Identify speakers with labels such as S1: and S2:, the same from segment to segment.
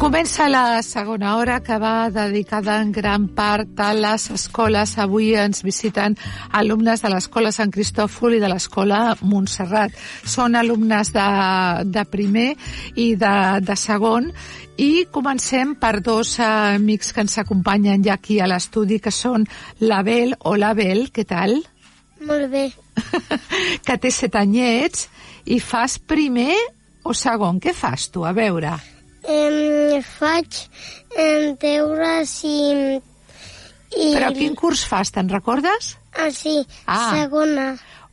S1: Comença la segona hora que va dedicada en gran part a les escoles. Avui ens visiten alumnes de l'Escola Sant Cristòfol i de l'Escola Montserrat. Són alumnes de, de primer i de, de segon i comencem per dos eh, amics que ens acompanyen ja aquí a l'estudi, que són l'Abel. Hola, Abel, què tal?
S2: Molt bé.
S1: que té set anyets i fas primer o segon? Què fas tu? A veure.
S2: Em, faig em, deures i... i
S1: Però quin curs fas, te'n recordes?
S2: Ah, sí,
S1: Ah.
S2: segona.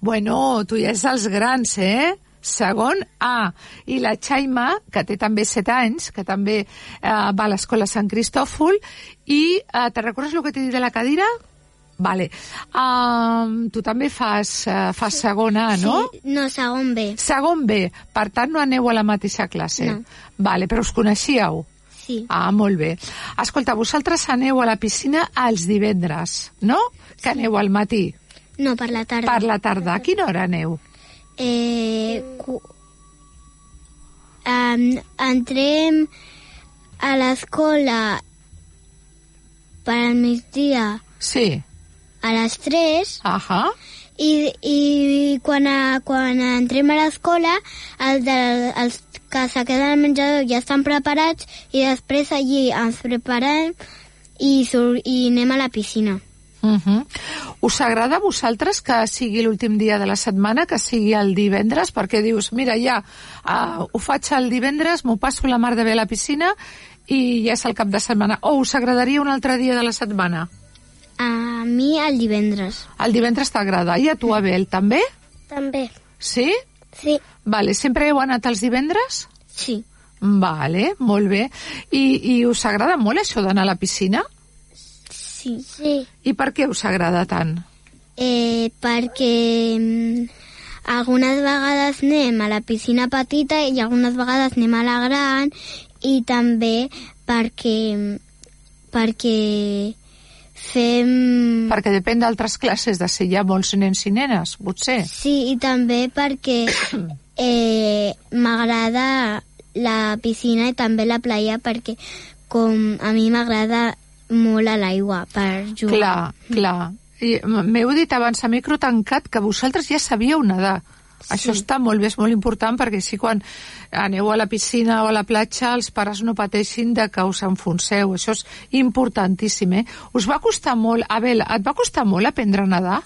S1: Bueno, tu ja ets els grans, eh? Segon A. I la Xaima, que té també 7 anys, que també eh, va a l'escola Sant Cristòfol, i eh, te recordes el que t'he dit de la cadira? Vale. Um, tu també fas, eh, fas segon A, no?
S2: Sí, no, segon B.
S1: Segon B. Per tant, no aneu a la mateixa classe.
S2: No.
S1: Vale, però us coneixíeu?
S2: Sí.
S1: Ah, molt bé. Escolta, vosaltres aneu a la piscina els divendres, no? Que aneu al matí,
S2: No, per la tarda.
S1: per la tarda. A quina hora aneu?
S2: Eh, cu... um, entrem a l'escola per al migdia
S1: Sí.
S2: a les 3
S1: Ahà.
S2: i, i quan, a, quan entrem a l'escola el de, els que se queden al menjador ja estan preparats i després allí ens preparem i, sur, i anem a la piscina.
S1: Uh -huh. Us agrada a vosaltres que sigui l'últim dia de la setmana, que sigui el divendres? Perquè dius, mira, ja uh, ho faig el divendres, m'ho passo la mar de bé a la piscina i ja és el cap de setmana. O us agradaria un altre dia de la setmana?
S2: A mi el divendres.
S1: El divendres t'agrada. I a tu, Abel, també?
S2: També.
S1: Sí?
S2: Sí.
S1: Vale, sempre heu anat els divendres?
S2: Sí.
S1: Vale, molt bé. I, i us agrada molt això d'anar a la piscina?
S2: Sí. Sí.
S1: I per què us agrada tant?
S2: Eh, perquè mm, algunes vegades anem a la piscina petita i algunes vegades anem a la gran i també perquè mm, perquè fem...
S1: Mm. Perquè depèn d'altres classes, de si hi ha molts nens i nenes, potser.
S2: Sí, i també perquè eh, m'agrada la piscina i també la playa perquè com a mi m'agrada molt a l'aigua per jugar.
S1: Clar, clar. I m- M'heu dit abans a micro tancat que vosaltres ja sabíeu nedar. Això està molt bé, és molt important, perquè així quan aneu a la piscina o a la platja els pares no pateixin de que us enfonseu. Això és importantíssim, eh? Us va costar molt... Abel, et va costar molt aprendre a nedar?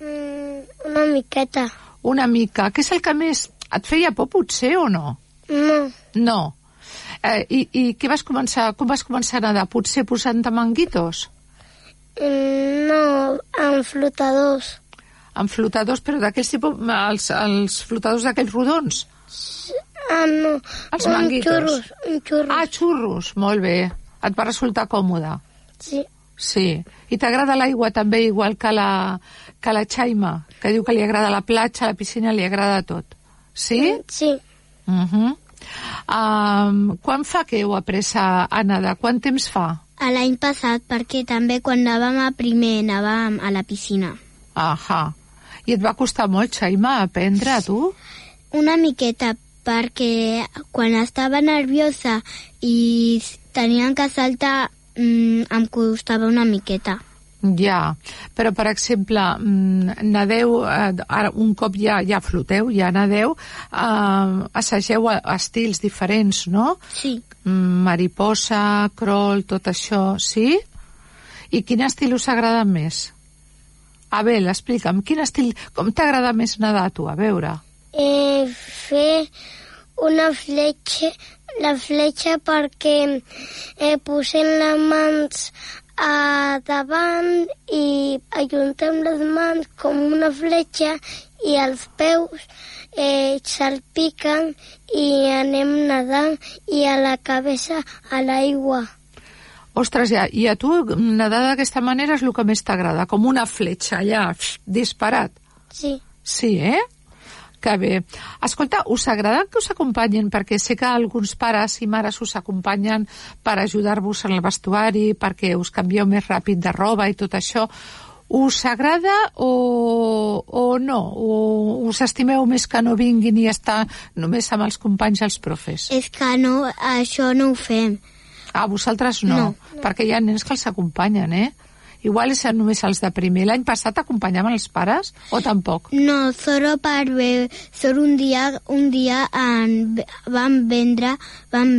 S2: Mm, una miqueta.
S1: Una mica. Què és el que més... Et feia por, potser, o no?
S2: No.
S1: No. Eh, i, I què vas començar, com vas començar a nedar? Potser posant-te manguitos?
S2: No, amb flotadors.
S1: Amb flotadors, però d'aquells tipus... Els, els flotadors d'aquells rodons?
S2: Ah, no.
S1: Els manguitos.
S2: un xurros.
S1: Ah, xurros, molt bé. Et va resultar còmode.
S2: sí.
S1: Sí. I t'agrada l'aigua també, igual que la, que la Xaima, que diu que li agrada la platja, la piscina, li agrada tot. Sí?
S2: Sí.
S1: Mm. Uh -huh. um, quan fa que heu après a, a nedar? Quant temps fa?
S2: A l'any passat, perquè també quan anàvem a primer anàvem a la piscina.
S1: Ahà. I et va costar molt, Xaima, aprendre, a tu?
S2: Una miqueta, perquè quan estava nerviosa i s- tenien que saltar mm, em costava una miqueta.
S1: Ja, però per exemple, mm, nadeu, eh, ara un cop ja ja floteu, ja nadeu, eh, assageu a, a estils diferents, no?
S2: Sí.
S1: Mm, mariposa, crol, tot això, sí? I quin estil us agrada més? Abel, explica'm, quin estil... Com t'agrada més nedar, tu? A veure.
S2: Eh, fer una fletxa, la fletxa perquè eh, posem les mans a davant i ajuntem les mans com una fletxa i els peus eh, salpiquen i anem nedant i a la cabeza a l'aigua.
S1: Ostres, ja, i a tu nedar d'aquesta manera és el que més t'agrada, com una fletxa allà, pf, disparat.
S2: Sí.
S1: Sí, eh? Que bé. Escolta, us agrada que us acompanyin? Perquè sé que alguns pares i mares us acompanyen per ajudar-vos en el vestuari, perquè us canvieu més ràpid de roba i tot això. Us agrada o, o no? O us estimeu més que no vinguin i estar només amb els companys i els profes?
S2: És que no, això no ho fem.
S1: A vosaltres no, no, no. perquè hi ha nens que els acompanyen, eh? Igual és només els de primer. L'any passat acompanyaven els pares o tampoc?
S3: No, solo per bé. Solo un dia, un dia en, van vendre, van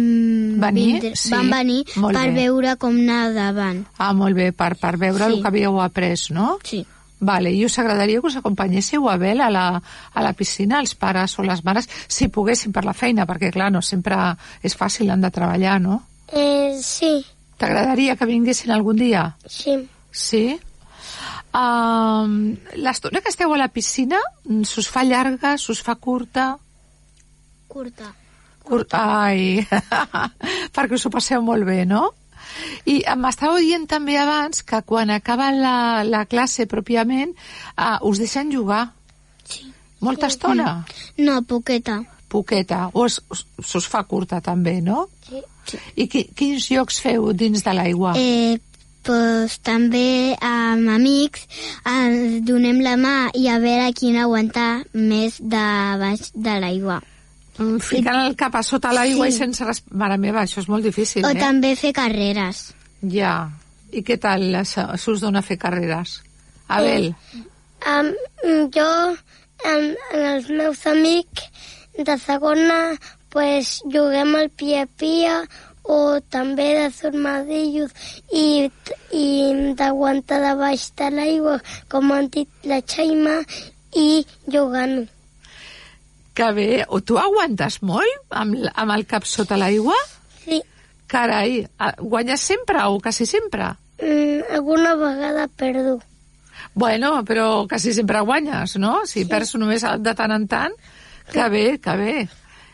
S1: Venir?
S3: vindre-
S1: Sí,
S3: van venir
S1: molt
S3: per
S1: bé.
S3: veure com nadaven.
S1: Ah, molt bé, per, per veure
S3: Sí.
S1: el que havíeu après, no?
S3: Sí.
S1: Vale, i us agradaria que us acompanyéssiu a Bel a la, a la piscina, els pares o les mares, si poguessin per la feina, perquè, clar, no sempre és fàcil, han de treballar, no?
S2: Eh, sí,
S1: T'agradaria que vinguessin algun dia?
S2: sí.
S1: Sí. Um, L'estona que esteu a la piscina, mm, s'us fa llarga, s'us fa curta?
S3: Curta.
S1: Cur Ai, perquè us ho passeu molt bé, no? I m'estava dient també abans que quan acaba la, la classe pròpiament uh, us deixen jugar.
S3: Sí.
S1: Molta estona?
S3: No, poqueta.
S1: Poqueta. O es- us- s'us fa curta també, no?
S2: Sí.
S1: I qui, quins llocs feu dins de l'aigua?
S3: Eh, pues, també amb amics ens donem la mà i a veure quin aguanta més de baix de l'aigua.
S1: Mm, Ficant el cap a sota l'aigua
S3: Sí.
S1: i sense... res- Mare meva, això és molt difícil,
S3: O
S1: eh?
S3: també fer carreres.
S1: Ja. I què tal les- s'us dona fer carreres?
S3: Eh,
S1: Abel,
S2: Um, jo, amb, amb els meus amics de segona, pues, juguem al pia-pia o també de sormadillos i, i d'aguantar de baix de l'aigua, com han dit la Xaima, i jugant.
S1: que bé. O tu aguantes molt amb, l- amb el cap sota l'aigua?
S2: Sí,
S1: Carai, a- guanyes sempre o quasi sempre?
S2: mm, alguna vegada perdo.
S1: Bueno, però quasi sempre guanyes, no? Si sí. perds només de tant en tant, que bé, que bé.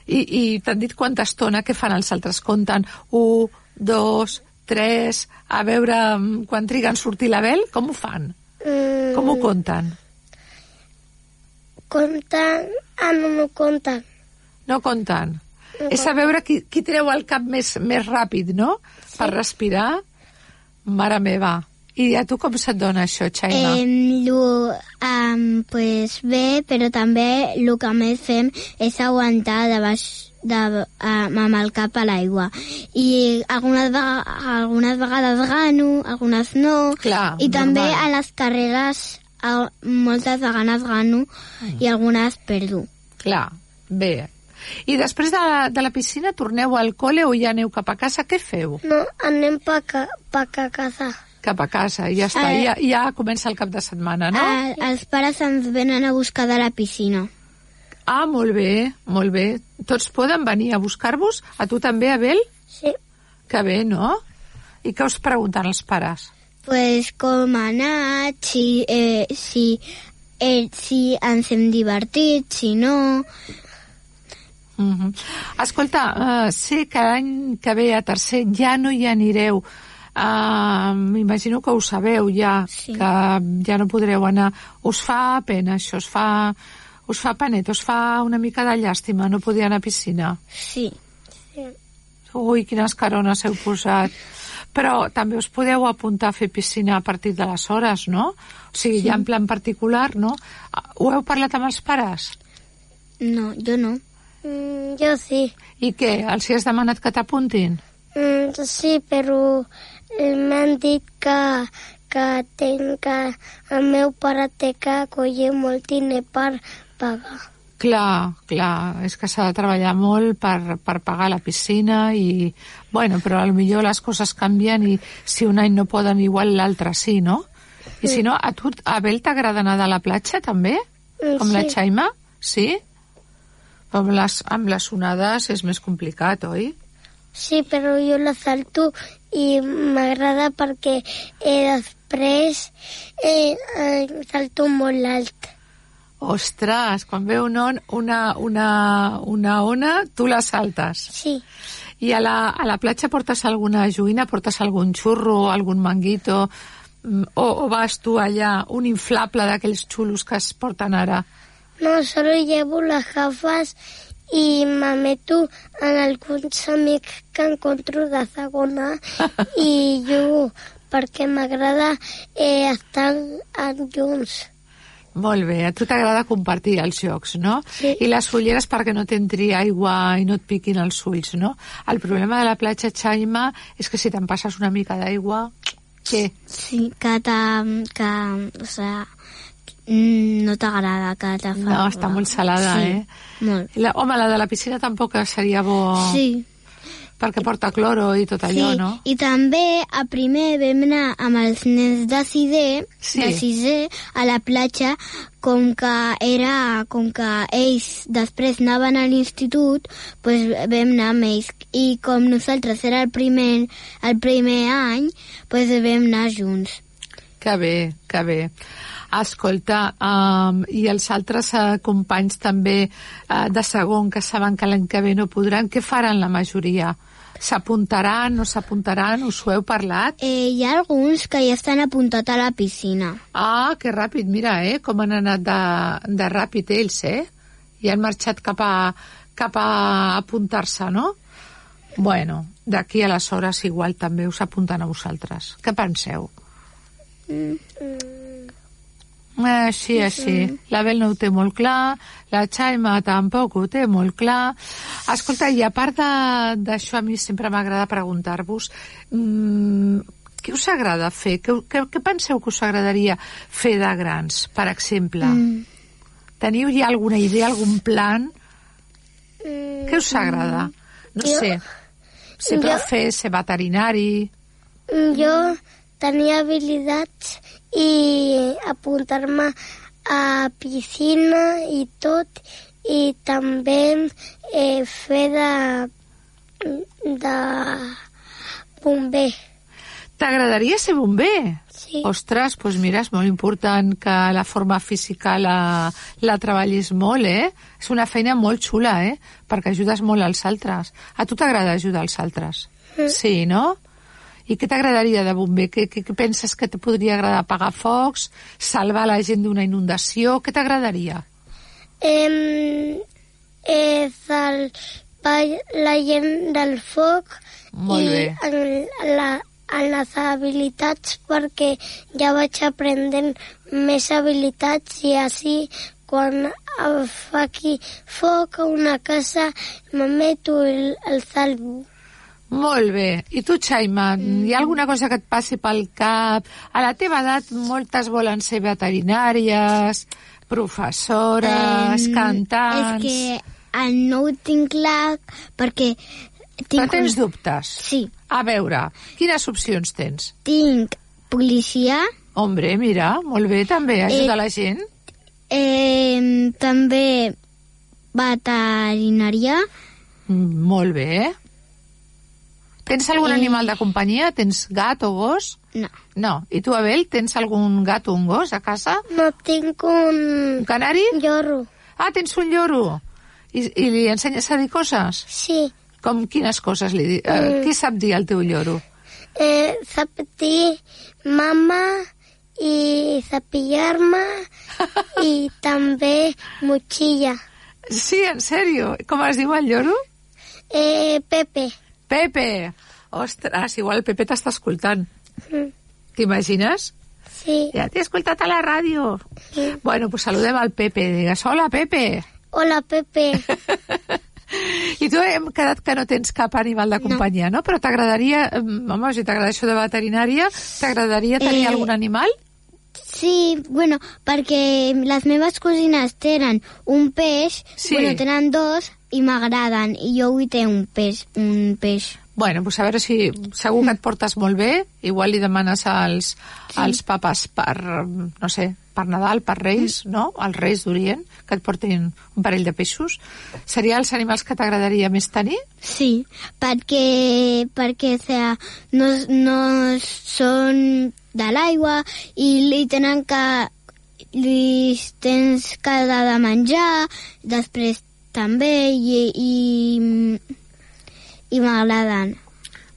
S1: I, i t'han dit quanta estona que fan els altres? Compten 1, 2, 3, a veure mm, quan triguen a sortir l'Abel? Com ho fan?
S2: Mm,
S1: Com ho compten?
S2: Compten? Ah, no, no compten.
S1: No compten. És a veure qui, qui treu el cap més, més ràpid, no? Sí. Per respirar. Mare meva. I a tu com se't dona això, Xaina? Eh...
S3: Eh, lo, um, pues bé, però també el que més fem és aguantar de baix de, uh, amb el cap a l'aigua. I algunes, vega- algunes vegades gano, algunes no.
S1: Clar,
S3: I també
S1: normal.
S3: a les carreres a, moltes vegades gano i algunes perdo.
S1: Clar, bé. I després de la, de la piscina torneu al col·le o ja aneu cap a casa? Què feu?
S2: No, anem pa, ca, pa ca casa.
S1: Cap a casa, i ja està.
S3: Eh.
S1: Ja, ja comença el cap de setmana, Ah, no?
S3: El- els pares ens venen a buscar de la piscina.
S1: Ah, molt bé, molt bé. Tots poden venir a buscar-vos? A tu també, Abel?
S2: Sí.
S1: Que bé, no? I què us pregunten els pares?
S3: Pues com ha anat, si, eh, si, eh, si ens hem divertit, si no...
S1: Mm Escolta, uh, sé que l'any que ve a tercer ja no hi anireu. Uh, M'imagino que ho sabeu ja,
S3: Sí.
S1: que ja no podreu anar. Us fa pena això, us fa, us fa panet, us fa una mica de llàstima no poder anar a piscina.
S3: Sí.
S1: Ui, quines carones heu posat. Però també us podeu apuntar a fer piscina a partir de les hores, no? O sigui, sí. ja en plan particular, no? Ah, Ho heu parlat amb els pares?
S3: No, jo no.
S2: Mm, jo sí.
S1: I què? Els hi has demanat que t'apuntin?
S2: Mm, sí, però eh, m'han dit que, que, tenc que el meu pare té que collir molt diner per pagar.
S1: Clar, clar, és que s'ha de treballar molt per, per pagar la piscina i, bueno, però a lo millor les coses canvien i si un any no poden igual l'altre sí, no? I si no, a tu, a Abel t'agrada anar a la platja també?
S2: Mm,
S1: Com la
S2: sí.
S1: Xaima? Sí? Però amb les, amb les onades és més complicat, oi?
S2: Sí, però jo la salto i m'agrada perquè eh, després eh, eh, salto molt alt.
S1: Ostres, quan ve un on, una, una, una ona, tu la saltes.
S2: Sí,
S1: I a la, a la platja portes alguna joguina, portes algun xurro, algun manguito, mm, o, o vas tu allà, un inflable d'aquells xulos que es porten ara?
S2: no, solo llevo les gafes i me meto en alguns amics que encontro de segona i jugo perquè m'agrada eh, estar en junts.
S1: Molt bé, a tu t'agrada compartir els jocs, no?
S2: Sí.
S1: I les fulleres perquè no t'entri aigua i no et piquin els ulls, no? El problema de la platja Chaima és que si te'n passes una mica d'aigua... Què?
S3: Sí, que, te, que o sea, mm, no t'agrada, que te fa...
S1: No, està molt salada,
S3: sí,
S1: eh?
S3: molt.
S1: La, home, la de la piscina tampoc seria bo
S3: Sí,
S1: perquè porta cloro i tot allò,
S3: sí.
S1: no?
S3: I també a primer vam anar amb els nens de sisè,
S1: Sí.
S3: de sisè a la platja, com que era, com que ells després anaven a l'institut, pues vam anar amb ells. I com nosaltres era el primer, el primer any, pues vam anar junts.
S1: Que bé, que bé. Escolta, um, i els altres uh, companys també uh, de segon que saben que l'any que ve no podran, què faran la majoria? S'apuntaran, no s'apuntaran? Us ho heu parlat?
S3: Eh, hi ha alguns que ja estan apuntats a la piscina.
S1: Ah, que ràpid, mira, eh? Com han anat de, de ràpid ells, eh? I han marxat cap a, cap a apuntar-se, no? Bueno, d'aquí a les hores igual també us apunten a vosaltres. Què penseu? Eh, sí, així. L'Abel no ho té molt clar, la Chaima tampoc ho té molt clar. Escolta, i a part de- d'això, a mi sempre m'agrada preguntar-vos mm, què us agrada fer? Què, què, què penseu que us agradaria fer de grans, per exemple? Mm. Teniu ja alguna idea, algun plan? Mm. Què us agrada? No
S2: Jo-
S1: sé. Ser
S2: jo-
S1: profe, ser veterinari...
S2: Mm, Yo tenía habilidad y apuntarme a piscina y todo y también eh, fer de, de bomber.
S1: T'agradaria ser bomber?
S2: Sí.
S1: Ostres, doncs mira, és molt important que la forma física la, la treballis molt, eh? És una feina molt xula, eh? Perquè ajudes molt als altres. A tu t'agrada ajudar als altres? Sí, no? I què t'agradaria de bomber? Què, què, què penses que te podria agradar? Apagar focs? Salvar la gent d'una inundació? Què t'agradaria?
S2: Em, eh, salvar la gent del foc
S1: Molt
S2: i
S1: bé.
S2: en la, en les habilitats perquè ja vaig aprenent més habilitats i així quan eh, fa aquí foc a una casa me meto el, el salvo.
S1: Molt bé. I tu, Xaima, hi ha alguna cosa que et passi pel cap? A la teva edat moltes volen ser veterinàries, professores,
S3: Em, És
S1: cantants...
S3: que eh, no ho tinc clar perquè...
S1: Però
S3: un-
S1: tens dubtes?
S3: Sí,
S1: A veure, quines opcions tens?
S3: tinc policia,
S1: Hombre, mira, molt bé, també, ajuda
S3: Eh,
S1: la gent.
S3: eh, també veterinaria,
S1: Mm, Molt bé. Tens
S3: Eh.
S1: algun animal de companyia? Tens gat o gos?
S3: no,
S1: No. I tu, Abel, tens algun gat o un gos a casa?
S2: No tinc
S1: Un
S2: un
S1: canari?
S2: lloro.
S1: Ah, tens un lloro. I, i li ensenyes a dir coses?
S2: Sí,
S1: Com quines coses li dius? Eh, qui sap dir al teu lloro?
S2: eh, sap dir mama i sapillar-me i també motxilla.
S1: Sí, en sèrio. Com es diu el lloro?
S2: Eh, Pepe,
S1: Pepe. Ostres, igual el Pepe t'està escoltant. T'imagines?
S2: Mm, sí.
S1: Ja t'he escoltat a la ràdio. Bueno, pues saludem al Pepe. Digues, hola, Pepe.
S2: Hola, Pepe.
S1: I tu hem quedat que no tens cap animal de companyia, no? Però t'agradaria... eh, Home, si t'agrada això de veterinària, t'agradaria tenir
S3: Eh,
S1: algun animal?
S3: Sí, bueno, perquè les meves cosines tenen un peix,
S1: Sí.
S3: bueno, tenen dos i m'agraden, i jo vull tenir un peix, un peix.
S1: Bueno, pues a veure si segur que et portes molt bé, igual li demanes als, als papes per, no sé, per Nadal, per Reis, no? Els Reis d'Orient, que et portin un parell de peixos. Seria els animals que t'agradaria més tenir?
S3: Sí, perquè, perquè o sea, no, no són de l'aigua i li tenen que li tens que dar de menjar, després també, i, i, i m'agraden.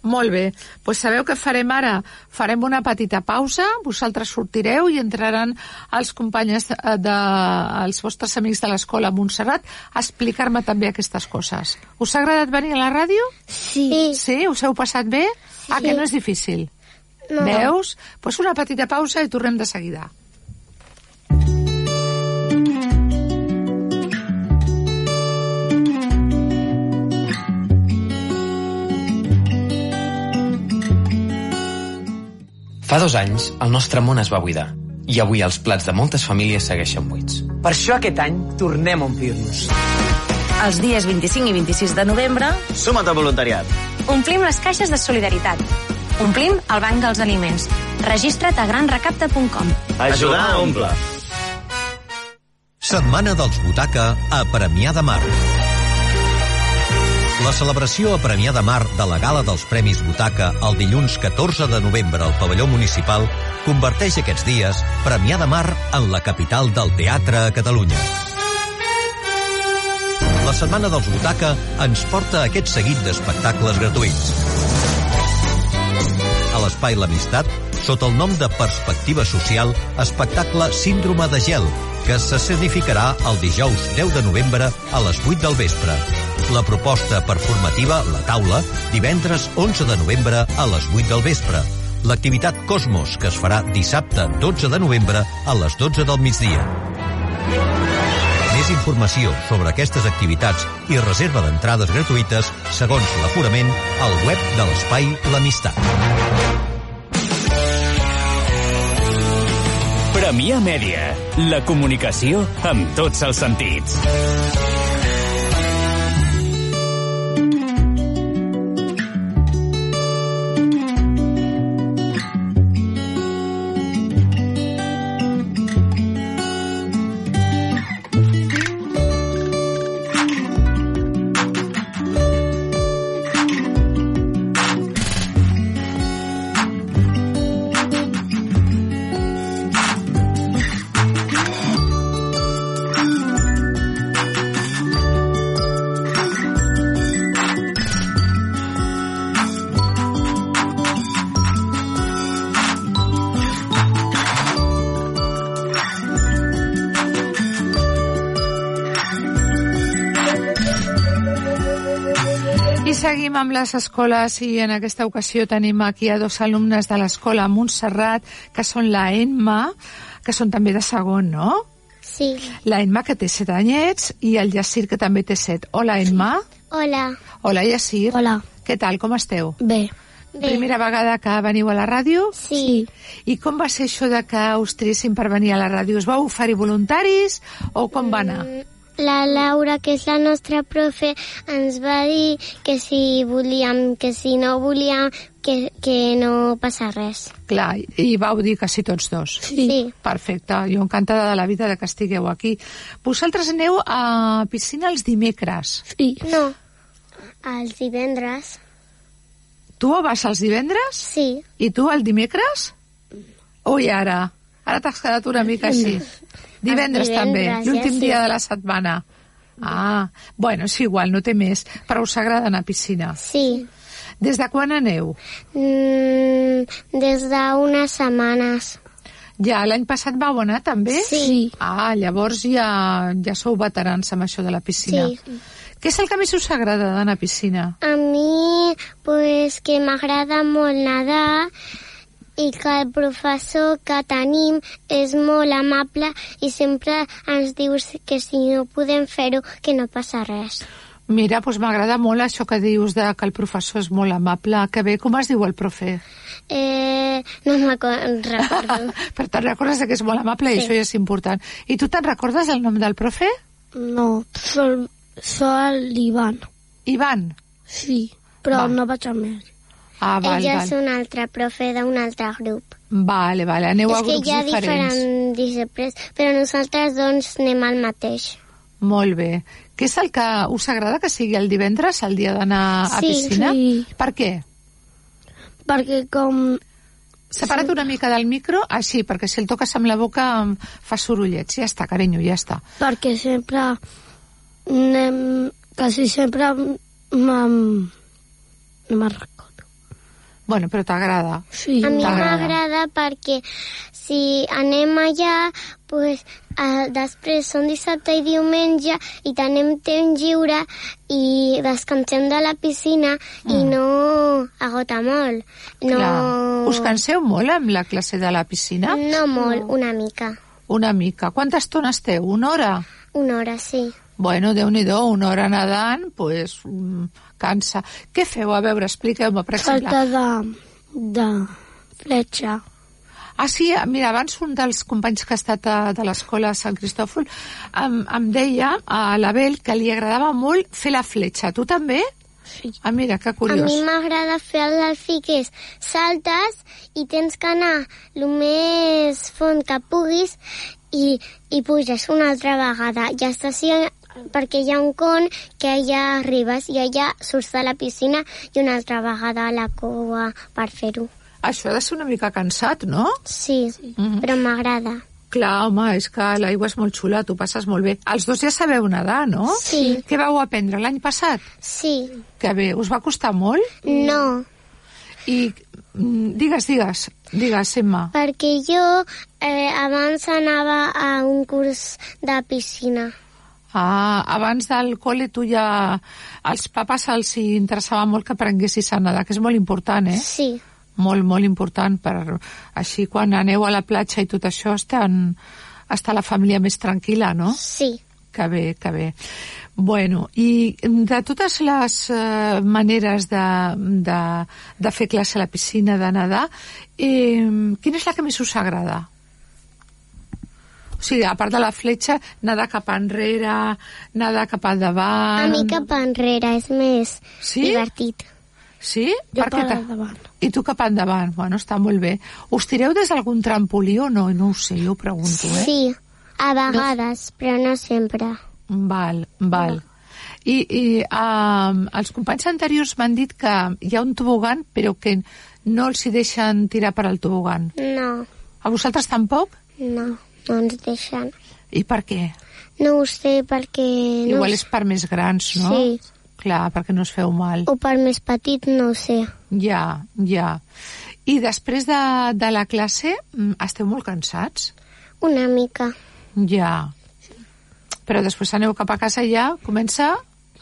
S1: Molt bé. Pues sabeu què farem ara? Farem una petita pausa, vosaltres sortireu i entraran els companyes de, de, els vostres amics de l'escola Montserrat a explicar-me també aquestes coses. Us ha agradat venir a la ràdio?
S3: Sí.
S1: Sí? Us heu passat bé? Ah, que no és difícil.
S2: No.
S1: Veus? Pues una petita pausa i tornem de seguida.
S4: Fa dos anys, el nostre món es va buidar i avui els plats de moltes famílies segueixen buits.
S5: Per això aquest any tornem a omplir-nos.
S6: Els dies 25 i 26 de novembre
S7: Suma't al voluntariat.
S6: omplim les caixes de solidaritat. Omplim el banc dels aliments. Registra't a granrecapta.com.
S7: Ajudar a Omple.
S8: Setmana dels Butaca a Premià de Mar. La celebració a Premià de Mar de la Gala dels Premis Butaca el dilluns 14 de novembre al pavelló municipal converteix aquests dies Premià de Mar en la capital del teatre a Catalunya. La Setmana dels Butaca ens porta aquest seguit d'espectacles gratuïts. A l'Espai L'Amistat, sota el nom de Perspectiva Social, espectacle Síndrome de Gel, que s'escenificarà el dijous 10 de novembre a les 8 del vespre. La proposta performativa La Taula, divendres 11 de novembre a les 8 del vespre. L'activitat Cosmos, que es farà dissabte 12 de novembre a les 12 del migdia. Més informació sobre aquestes activitats i reserva d'entrades gratuïtes segons l'aforament al web de l'espai L'Amistat.
S9: Premià Mèdia. La comunicació amb tots els sentits.
S1: I seguim amb les escoles i en aquesta ocasió tenim aquí a dos alumnes de l'escola Montserrat, que són la Emma, que són també de segon, no?
S2: Sí.
S1: La Emma, que té set anyets, i el Yacir, que també té set. Hola, Emma.
S2: Hola.
S1: Hola, Yacir.
S3: Hola.
S1: Què tal, com esteu?
S3: Bé.
S2: Bé.
S1: Primera vegada que veniu a la ràdio?
S2: Sí.
S1: I com va ser això de que us triessin per venir a la ràdio? Us vau oferir voluntaris o com va anar?
S2: La Laura, que és la nostra profe, ens va dir que si volíem, que si no volíem, que, que no passa res.
S1: Clar, i vau dir que sí tots dos.
S2: Sí.
S1: Perfecte, jo encantada de la vida de que estigueu aquí. Vosaltres aneu a piscina els dimecres.
S3: Sí.
S2: No. Els divendres.
S1: Tu vas els divendres
S2: Sí.
S1: i tu el dimecres? Ui, ara, ara t'has quedat una mica així. Divendres,
S2: divendres,
S1: també,
S2: ja
S1: l'últim
S2: sí.
S1: dia de la setmana. Ah, bueno, és igual, no té més, però us agrada anar a piscina.
S2: Sí.
S1: Des de quan aneu?
S2: Mm, des d'unes setmanes.
S1: Ja l'any passat vau anar també?
S2: Sí.
S1: Ah, llavors ja, ja sou veterans amb això de la piscina.
S2: Sí.
S1: Què és el que més us agrada d'anar a piscina?
S2: A mi, pues, que m'agrada molt nedar i que el professor que tenim és molt amable i sempre ens diu que si no podem fer-ho, que no passa res.
S1: Mira, doncs m'agrada molt això que dius de que el professor és molt amable. Que bé, com es diu el profe?
S2: Eh, no me'n recordo.
S1: per tant, recordes que és molt amable i això ja és important. I tu te'n recordes el nom del profe?
S10: No, sol, sol l'Ivan.
S1: Ivan.
S10: Sí, però
S1: Va.
S10: no vaig amb ell.
S1: Ah, val,
S2: Ell Eh, ja és
S1: val.
S2: un altre profe d'un altre grup.
S1: Vale, vale, aneu a
S2: és que
S1: grups
S2: hi ha
S1: diferents.
S2: diferents disciplines, però nosaltres doncs anem al mateix.
S1: Molt bé. Què és el que us agrada que sigui el divendres, el dia d'anar a
S2: Sí,
S1: piscina?
S10: sí.
S1: Per què?
S10: Perquè com...
S1: Separa't una mica del micro, així, perquè si el toques amb la boca em fa sorollets. Ja està, carinyo, ja està.
S10: Perquè sempre... Anem, quasi sempre me'n... No me'n recordo.
S1: Bueno, però t'agrada.
S10: Sí.
S2: A mi
S1: T'agrada.
S2: m'agrada perquè si anem allà, pues, eh, després són dissabte i diumenge i tenim temps lliure i descansem de la piscina i
S10: Mm.
S2: no agota molt. No,
S1: Clar. Us canseu molt amb la classe de la piscina?
S2: no molt, una mica.
S1: Una mica. Quanta estona esteu? Una hora?
S2: Una hora, sí.
S1: Bueno, déu nhi una hora nedant, doncs pues, mm, cansa. Què feu? A veure, expliqueu-me, per exemple.
S10: Falta de... de fletxa.
S1: Ah, sí, mira, abans un dels companys que ha estat a, de l'escola Sant Cristòfol em, em deia a l'Abel que li agradava molt fer la fletxa. Tu també?
S10: Sí.
S1: Ah, mira, que
S2: A
S1: curiós.
S2: mi m'agrada fer els alfiques. Saltes i tens que anar el més font que puguis i, i puges una altra vegada. Ja estàs hi- perquè hi ha un con que allà arribes i allà surts de la piscina i una altra vegada a la cua per fer-ho.
S1: Això ha de ser una mica cansat, no?
S2: Sí, sí. però m'agrada.
S1: Clar, home, és que l'aigua és molt xula, tu passes molt bé. Els dos ja sabeu nedar, no?
S2: Sí.
S1: Què vau aprendre l'any passat?
S2: Sí,
S1: Que bé, us va costar molt?
S2: no.
S1: I mm, digues, digues, digues, Emma.
S2: Perquè jo eh, abans anava a un curs de piscina.
S1: Ah, abans del col·le tu ja... Als papes els hi interessava molt que aprenguessis a nedar, que és molt important, eh?
S2: Sí,
S1: Molt, molt important. Per... Així, quan aneu a la platja i tot això, estan... està la família més tranquil·la, no?
S2: sí.
S1: Que bé, que bé. Bueno, i de totes les eh, maneres de, de, de fer classe a la piscina, de nedar, eh, quina és la que més us agrada? O sigui, a part de la fletxa, nedar cap enrere, nedar cap al
S2: A
S1: davant...
S2: mi cap enrere és més
S1: Ah, Sí?
S2: divertit.
S1: Sí?
S10: Jo
S1: Per què
S10: per
S1: t'ha-
S10: endavant.
S1: I tu cap endavant. Bueno, està molt bé. Us tireu des d'algun trampolí o no? No ho sé, jo ho pregunto, eh?
S2: Sí, a vegades, però no sempre.
S1: Val, val. I, i um, els companys anteriors m'han dit que hi ha un tobogan, però que no els hi deixen tirar per al tobogan.
S2: No,
S1: A vosaltres tampoc?
S2: no, no ens deixen.
S1: I per què?
S2: No ho sé perquè... No
S1: Igual
S2: ho
S1: és per més grans, no?
S2: Sí. Oh.
S1: Clar, perquè no us feu mal.
S2: sé. O per més petit, no ho sé.
S1: Ja, ja. I després de, de la classe, mm, esteu molt cansats?
S2: Una mica.
S1: Ja. Però després aneu cap a casa i ja comença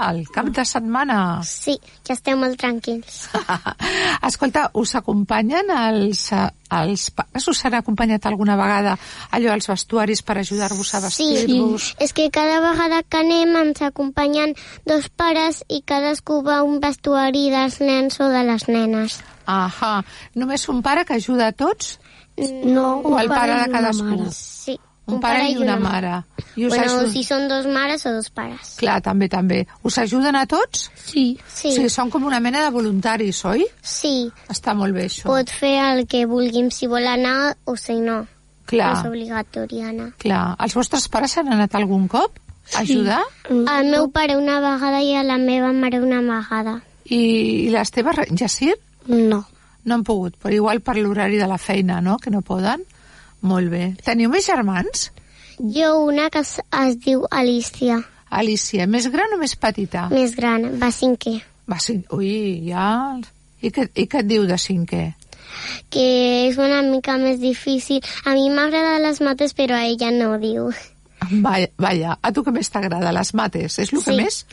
S1: el cap de setmana.
S2: Sí, ja estem molt tranquils.
S1: Escolta, us acompanyen els, eh, els pares? Us han acompanyat alguna vegada allò als vestuaris per ajudar-vos a vestir-vos?
S2: és que cada vegada que anem ens acompanyen dos pares i cadascú va a un vestuari dels nens o de les nenes.
S1: Ahà. Només un pare que ajuda a tots?
S10: Mm. No,
S1: O el
S10: un
S1: pare
S10: i
S1: de
S10: una
S1: cadascú?
S10: mare.
S2: Sí,
S1: Un, pare i una mare. I us
S2: bueno,
S1: ajuden...
S2: si són dos mares o dos pares.
S1: Clar, també, també. Us ajuden a tots?
S10: Sí,
S2: Sí,
S1: sí són com una mena de voluntaris, oi?
S2: sí.
S1: Està molt bé, això.
S2: Pot fer el que vulguim, si vol anar o si no.
S1: Clar,
S2: No és obligatori anar.
S1: clar. Els vostres pares han anat algun cop a ajudar?
S10: Mm.
S2: Al meu pare una vegada i a la meva mare una vegada.
S1: I, I les teves, re- Jacir?
S10: no.
S1: No han pogut, però igual per l'horari de la feina, no?, que no poden. Molt bé. Teniu més germans?
S2: Jo una que es, es diu Alicia,
S1: Alicia, més gran o més petita?
S2: més gran, va cinquè,
S1: Va, sí. Ui, ja... I què, I què et diu de cinquè?
S2: que és una mica més difícil. A mi m'agrada les mates, però a ella no ho diu.
S1: Vaja, vaja. a tu que més t'agrada? Les mates, és el que
S2: Sí.
S1: més?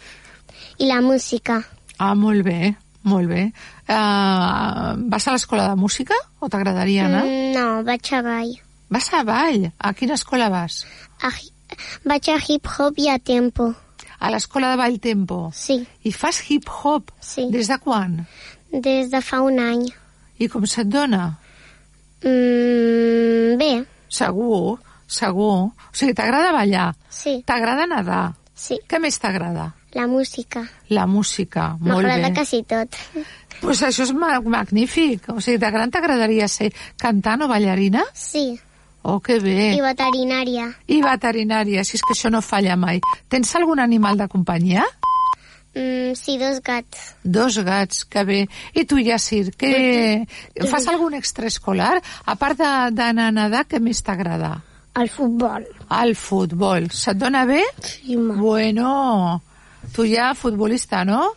S2: I la música,
S1: Ah, molt bé, molt bé. Uh, vas a l'escola de música o t'agradaria anar? Mm.
S2: Mm, no, vaig a ball.
S1: Vas a ball. A quina escola vas?
S2: A, hi- vaig a hip-hop i a tempo,
S1: A l'escola de ball tempo.
S2: sí,
S1: I fas hip-hop?
S2: Sí.
S1: Des de quan?
S2: des de fa un any.
S1: I com se't dona?
S2: Mm, bé,
S1: Segur, segur. O sigui, t'agrada ballar,
S2: sí,
S1: t'agrada nedar.
S2: sí,
S1: Què més t'agrada?
S2: la música.
S1: La música, molt
S2: M'agrada
S1: bé.
S2: quasi tot.
S1: Doncs pues això és ma- magnífic. O sigui, de gran t'agradaria ser cantant o ballarina?
S2: Sí,
S1: Oh, que bé.
S2: i veterinària.
S1: I veterinària, si és que això no falla mai. Tens algun animal de companyia?
S2: Mm, sí, dos gats.
S1: Dos gats, que bé. I tu, Yassir, que fas algun extraescolar? A part de- d'anar a nedar, què més t'agrada?
S10: El futbol.
S1: El futbol. Se't dona bé?
S10: Sí, ma.
S1: Bueno, tu ja futbolista, no?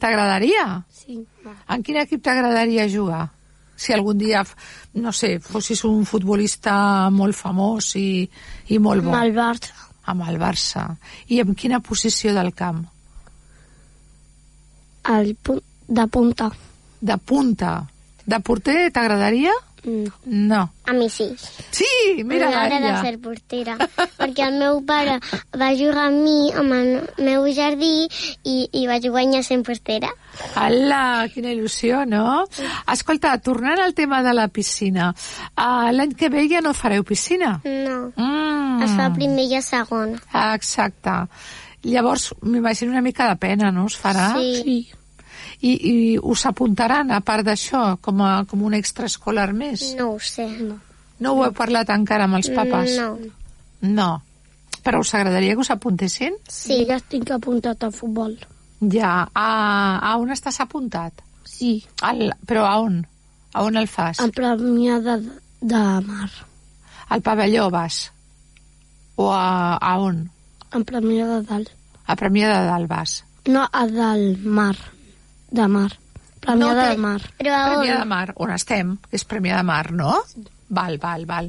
S1: T'agradaria?
S10: Sí, ma.
S1: En quin equip t'agradaria jugar? Si algun dia, f- no sé, fossis un futbolista molt famós i, i molt bo.
S10: Amb el Barça.
S1: Amb el Barça. I en quina posició del camp?
S10: El punt de punta.
S1: De punta. De porter t'agradaria?
S10: No.
S1: No.
S10: A mi sí.
S1: Sí, mira
S10: M'agrada
S1: l'Aia.
S10: ser portera, perquè el meu pare va jugar amb mi, amb el meu jardí, i, i vaig guanyar sent portera.
S1: Ala, quina il·lusió, no? Escolta, tornant al tema de la piscina, uh, l'any que ve ja no fareu piscina.
S10: No,
S1: Mm.
S10: es fa primer i a segona.
S1: Ah, Exacte. Llavors, m'imagino una mica de pena, no? Us farà?
S10: Sí. Sí.
S1: I, I us apuntaran, a part d'això, com, a, com un extraescolar més?
S10: No ho sé. No.
S1: No ho heu parlat encara amb els papes?
S10: No.
S1: No. Però us agradaria que us apuntessin?
S10: Sí.
S2: Ja estic apuntat a futbol.
S1: Ja. A, a on estàs apuntat?
S2: Sí,
S1: Al, però a on? A on el fas?
S2: a Premià de, de Mar.
S1: Al pavelló vas? O a, a on?
S2: A Premià de Dalt.
S1: A Premià de Dalt vas?
S2: No, a del mar. De mar. Premià
S10: No,
S2: no,
S10: però-
S2: del mar.
S10: Però a
S1: Premià de
S10: on?
S1: Mar, on estem, que és Premià de Mar, no? Val, val, val.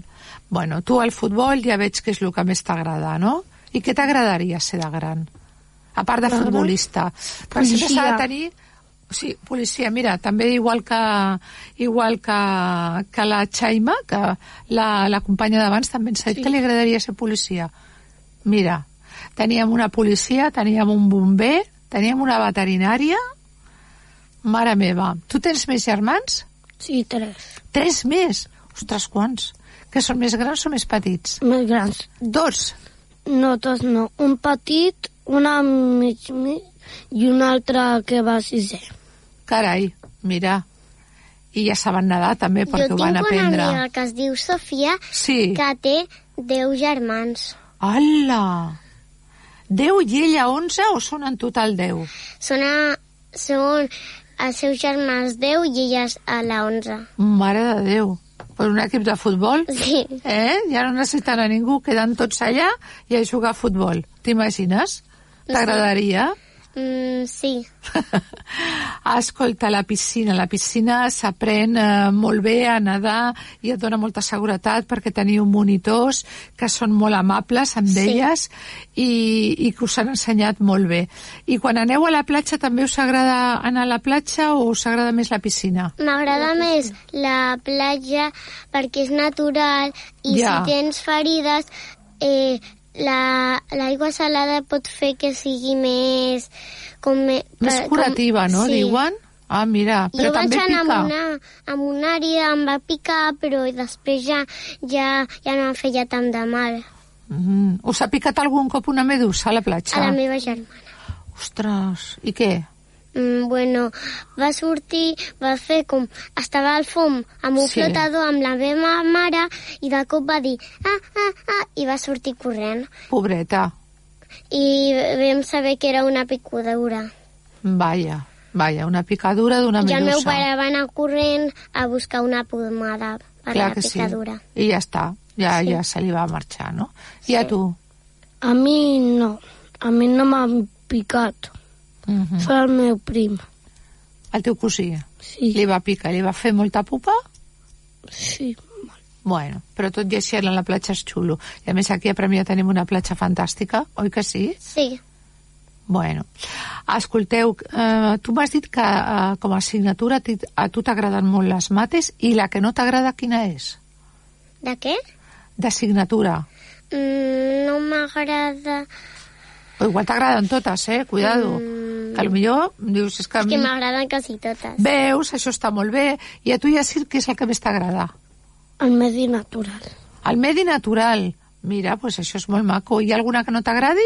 S1: Bueno, tu al futbol ja veig que és el que més t'agrada, no? I què t'agradaria ser de gran? A part de futbolista. Per sempre s'ha de
S2: Policia.
S1: tenir... Sí, policia, mira, també igual que, igual que, que la Xaima, que la, la companya d'abans també ens ha dit sí. que li agradaria ser policia. Mira, teníem una policia, teníem un bomber, teníem una veterinària... Mare meva, tu tens més germans?
S2: Sí, tres.
S1: Tres més? Ostres, quants? Que són més grans o més petits?
S2: Més grans.
S1: Dos.
S2: No, tots no. Un petit, una mig, mig i una altra que va a sisè.
S1: Carai, mira. I ja saben nedar, també, perquè
S10: Jo
S1: ho van
S10: tinc una
S1: aprendre.
S10: amiga que es diu Sofia,
S1: Sí.
S10: que té 10 germans.
S1: Hola! Deu i ella onze o són en total deu?
S10: Són, a, són els seus germans 10 i elles a la 11.
S1: Mare de Déu. Per un equip de futbol?
S10: Sí.
S1: Eh? Ja no necessiten a ningú, queden tots allà i a jugar a futbol. T'imagines? T'agradaria?
S10: Mm, sí.
S1: Escolta, la piscina. La piscina s'aprèn eh, molt bé a nedar i et dona molta seguretat perquè teniu monitors que són molt amables amb
S10: Sí.
S1: elles i, i que us han ensenyat molt bé. I quan aneu a la platja també us agrada anar a la platja o us agrada més la piscina?
S10: M'agrada més la platja perquè és natural i
S1: Ja.
S10: si tens ferides eh, la- l'aigua la, salada pot fer que sigui més... Com, me-
S1: Més
S10: per- Eh, com-
S1: curativa, no?
S10: Sí.
S1: Diuen? Ah, mira, però
S10: jo vaig
S1: també
S10: anar
S1: pica.
S10: amb una, amb una àrea, em va picar, però després ja, ja, ja no em feia tant de mal
S1: Mm. Us ha picat algun cop una medusa a la platja?
S10: a la meva germana.
S1: Ostres, i què?
S10: Mm, bueno, va sortir, va fer com... Estava al fum amb un
S1: Sí.
S10: sí. flotador amb la meva mare i de cop va dir ah, ah, ah, i va sortir corrent.
S1: Pobreta.
S10: I vam saber que era una picadura.
S1: Vaja, vaja, una picadura d'una
S10: I
S1: medusa.
S10: el meu pare va anar corrent a buscar una pomada per
S1: Clar
S10: la
S1: que sí.
S10: picadura.
S1: I ja està, ja,
S10: Sí.
S1: ja se li va marxar, no? I a tu?
S2: A mi no. A mi no m'han picat.
S1: Mm
S2: Mm. Sóc el meu prim.
S1: El teu cosí
S2: Sí,
S1: li va picar, li va fer molta pupa?
S2: sí.
S1: Bueno, però tot i així en la platja és xulo. I a més aquí a Premià tenim una platja fantàstica, oi que sí?
S10: Sí,
S1: Bueno, escolteu, eh, tu m'has dit que eh, com a assignatura a ti- a tu t'agraden molt les mates i la que no t'agrada quina és?
S10: de què?
S1: D'assignatura.
S10: Mm, no m'agrada...
S1: O igual t'agraden totes, eh? Cuidado.
S10: Mm.
S1: Que potser dius... És que, a
S10: És que
S1: mi-
S10: m'agraden quasi totes.
S1: Veus, això està molt bé. I a tu, Yassir, què és el que més t'agrada?
S2: El medi natural.
S1: El medi natural. Mira, doncs això és molt maco. Hi ha alguna que no t'agradi?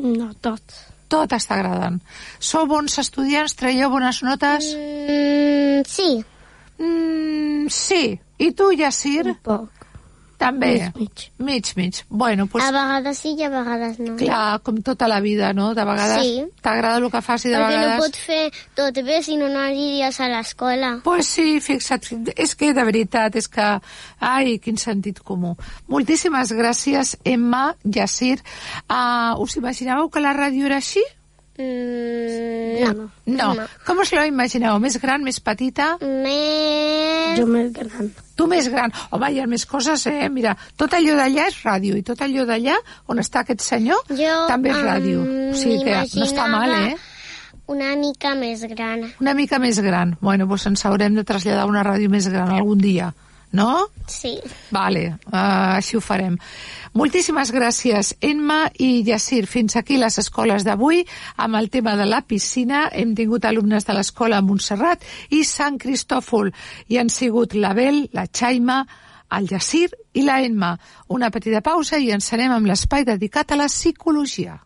S2: No, tots.
S1: Totes t'agraden. Sou bons estudiants, traieu bones notes?
S10: Mm, sí,
S1: Mm, sí. I tu, Yassir?
S10: Mm.
S2: Un poc.
S1: També.
S2: Mig,
S1: Mig, mig. Bueno, doncs,
S10: a vegades sí i a vegades no.
S1: clar, com tota la vida, no? De vegades
S10: Sí.
S1: t'agrada el que fas i de
S10: Perquè
S1: vegades...
S10: no pots fer tot bé si no no aniries a l'escola.
S1: Pues sí, fixa't, és que de veritat, és que... Ai, quin sentit comú. Moltíssimes gràcies, Emma, Yassir. Uh, us imaginàveu que la ràdio era així?
S10: Mm, no.
S1: No.
S10: No.
S1: Com us la imagineu? Més gran, més petita?
S10: Més...
S2: Jo més gran.
S1: Tu més gran. Home, hi ha més coses, eh? Mira, tot allò d'allà és ràdio i tot allò d'allà on està aquest senyor
S10: Jo,
S1: també és ràdio.
S10: em,
S1: O sigui que no està mal,
S10: m'imaginava
S1: eh?
S2: Una mica més gran.
S1: Una mica més gran. Bueno, doncs ens haurem de traslladar a una ràdio més gran algun dia, no?
S2: Sí.
S1: Vale, uh, així ho farem. Moltíssimes gràcies, Enma i Yacir. Fins aquí les escoles d'avui. Amb el tema de la piscina hem tingut alumnes de l'escola Montserrat i Sant Cristòfol. I han sigut l'Abel, la Xaima, el Yacir i la Enma. Una petita pausa i ens anem amb l'espai dedicat a la psicologia.